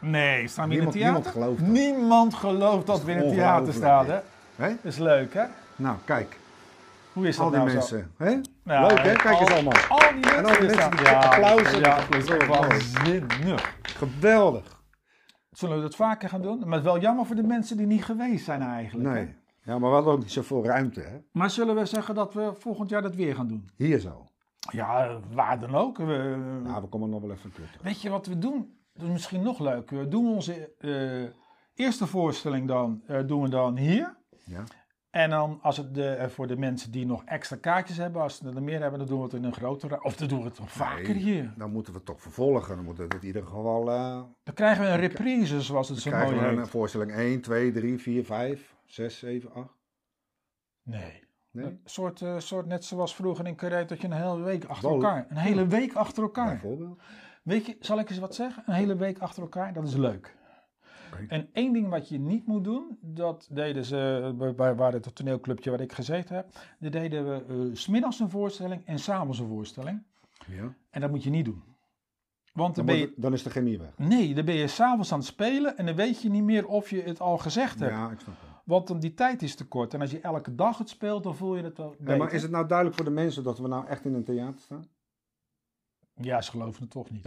Nee, staan we in het theater? Niemand- niemand gelooft dat. Niemand gelooft dat we in het theater ongelooflijk, staan. hè? Hè? Hè? Dat is leuk, hè? Nou, kijk. Hoe is dat Al die nou zo? mensen. Hè? Ja, Leuk, hè? Kijk eens al- allemaal. Al die mensen, al die die mensen staan. die ja, applaus Ja, hebben. dat is waanzinnig. Oh, Geweldig. Zullen we dat vaker gaan doen? Maar het is wel jammer voor de mensen die niet geweest zijn eigenlijk. hè? Nee. Ja, maar we hadden ook niet zoveel ruimte, hè? Maar zullen we zeggen dat we volgend jaar dat weer gaan doen? Hier zo. Ja, eh, waar dan ook. We, Nou, we komen nog wel even een keer terug. Weet je wat we doen? Dat is misschien nog leuk. We doen onze eh, eerste voorstelling dan, eh, doen we dan hier. Ja. En dan als het de, eh, voor de mensen die nog extra kaartjes hebben, als ze er meer hebben, dan doen we het in een grotere. Of dan doen we het nog vaker Nee. hier. Dan moeten we toch vervolgen. Dan moeten we het in ieder geval... eh Dan krijgen we een reprise, zoals het zo mooi krijgen we een heet. voorstelling 1, 2, 3, 4, 5, 6, 7, 8. Nee. Nee? Een soort, eh, soort net zoals vroeger in Carré, dat je een hele week achter Wel- elkaar. Een hele week achter elkaar. Bijvoorbeeld. Weet je, zal ik eens wat zeggen? Een hele week achter elkaar, dat is leuk. Oké. En één ding wat je niet moet doen, dat deden ze eh, bij- bij waar het toneelclubje waar ik gezeten heb. Daar deden we eh, 's smiddags een voorstelling en s'avonds een voorstelling. Ja. En dat moet je niet doen. Want dan, Dan, ben je, wordt- dan is de chemie weg. nee, dan ben je s'avonds aan het spelen en dan weet je niet meer of je het al gezegd hebt. Ja, ik snap het. Want dan die tijd is te kort. En als je elke dag het speelt, dan voel je het wel Hey, maar beter. is het nou duidelijk voor de mensen dat we nou echt in een theater staan? Ja, ze geloven het toch niet.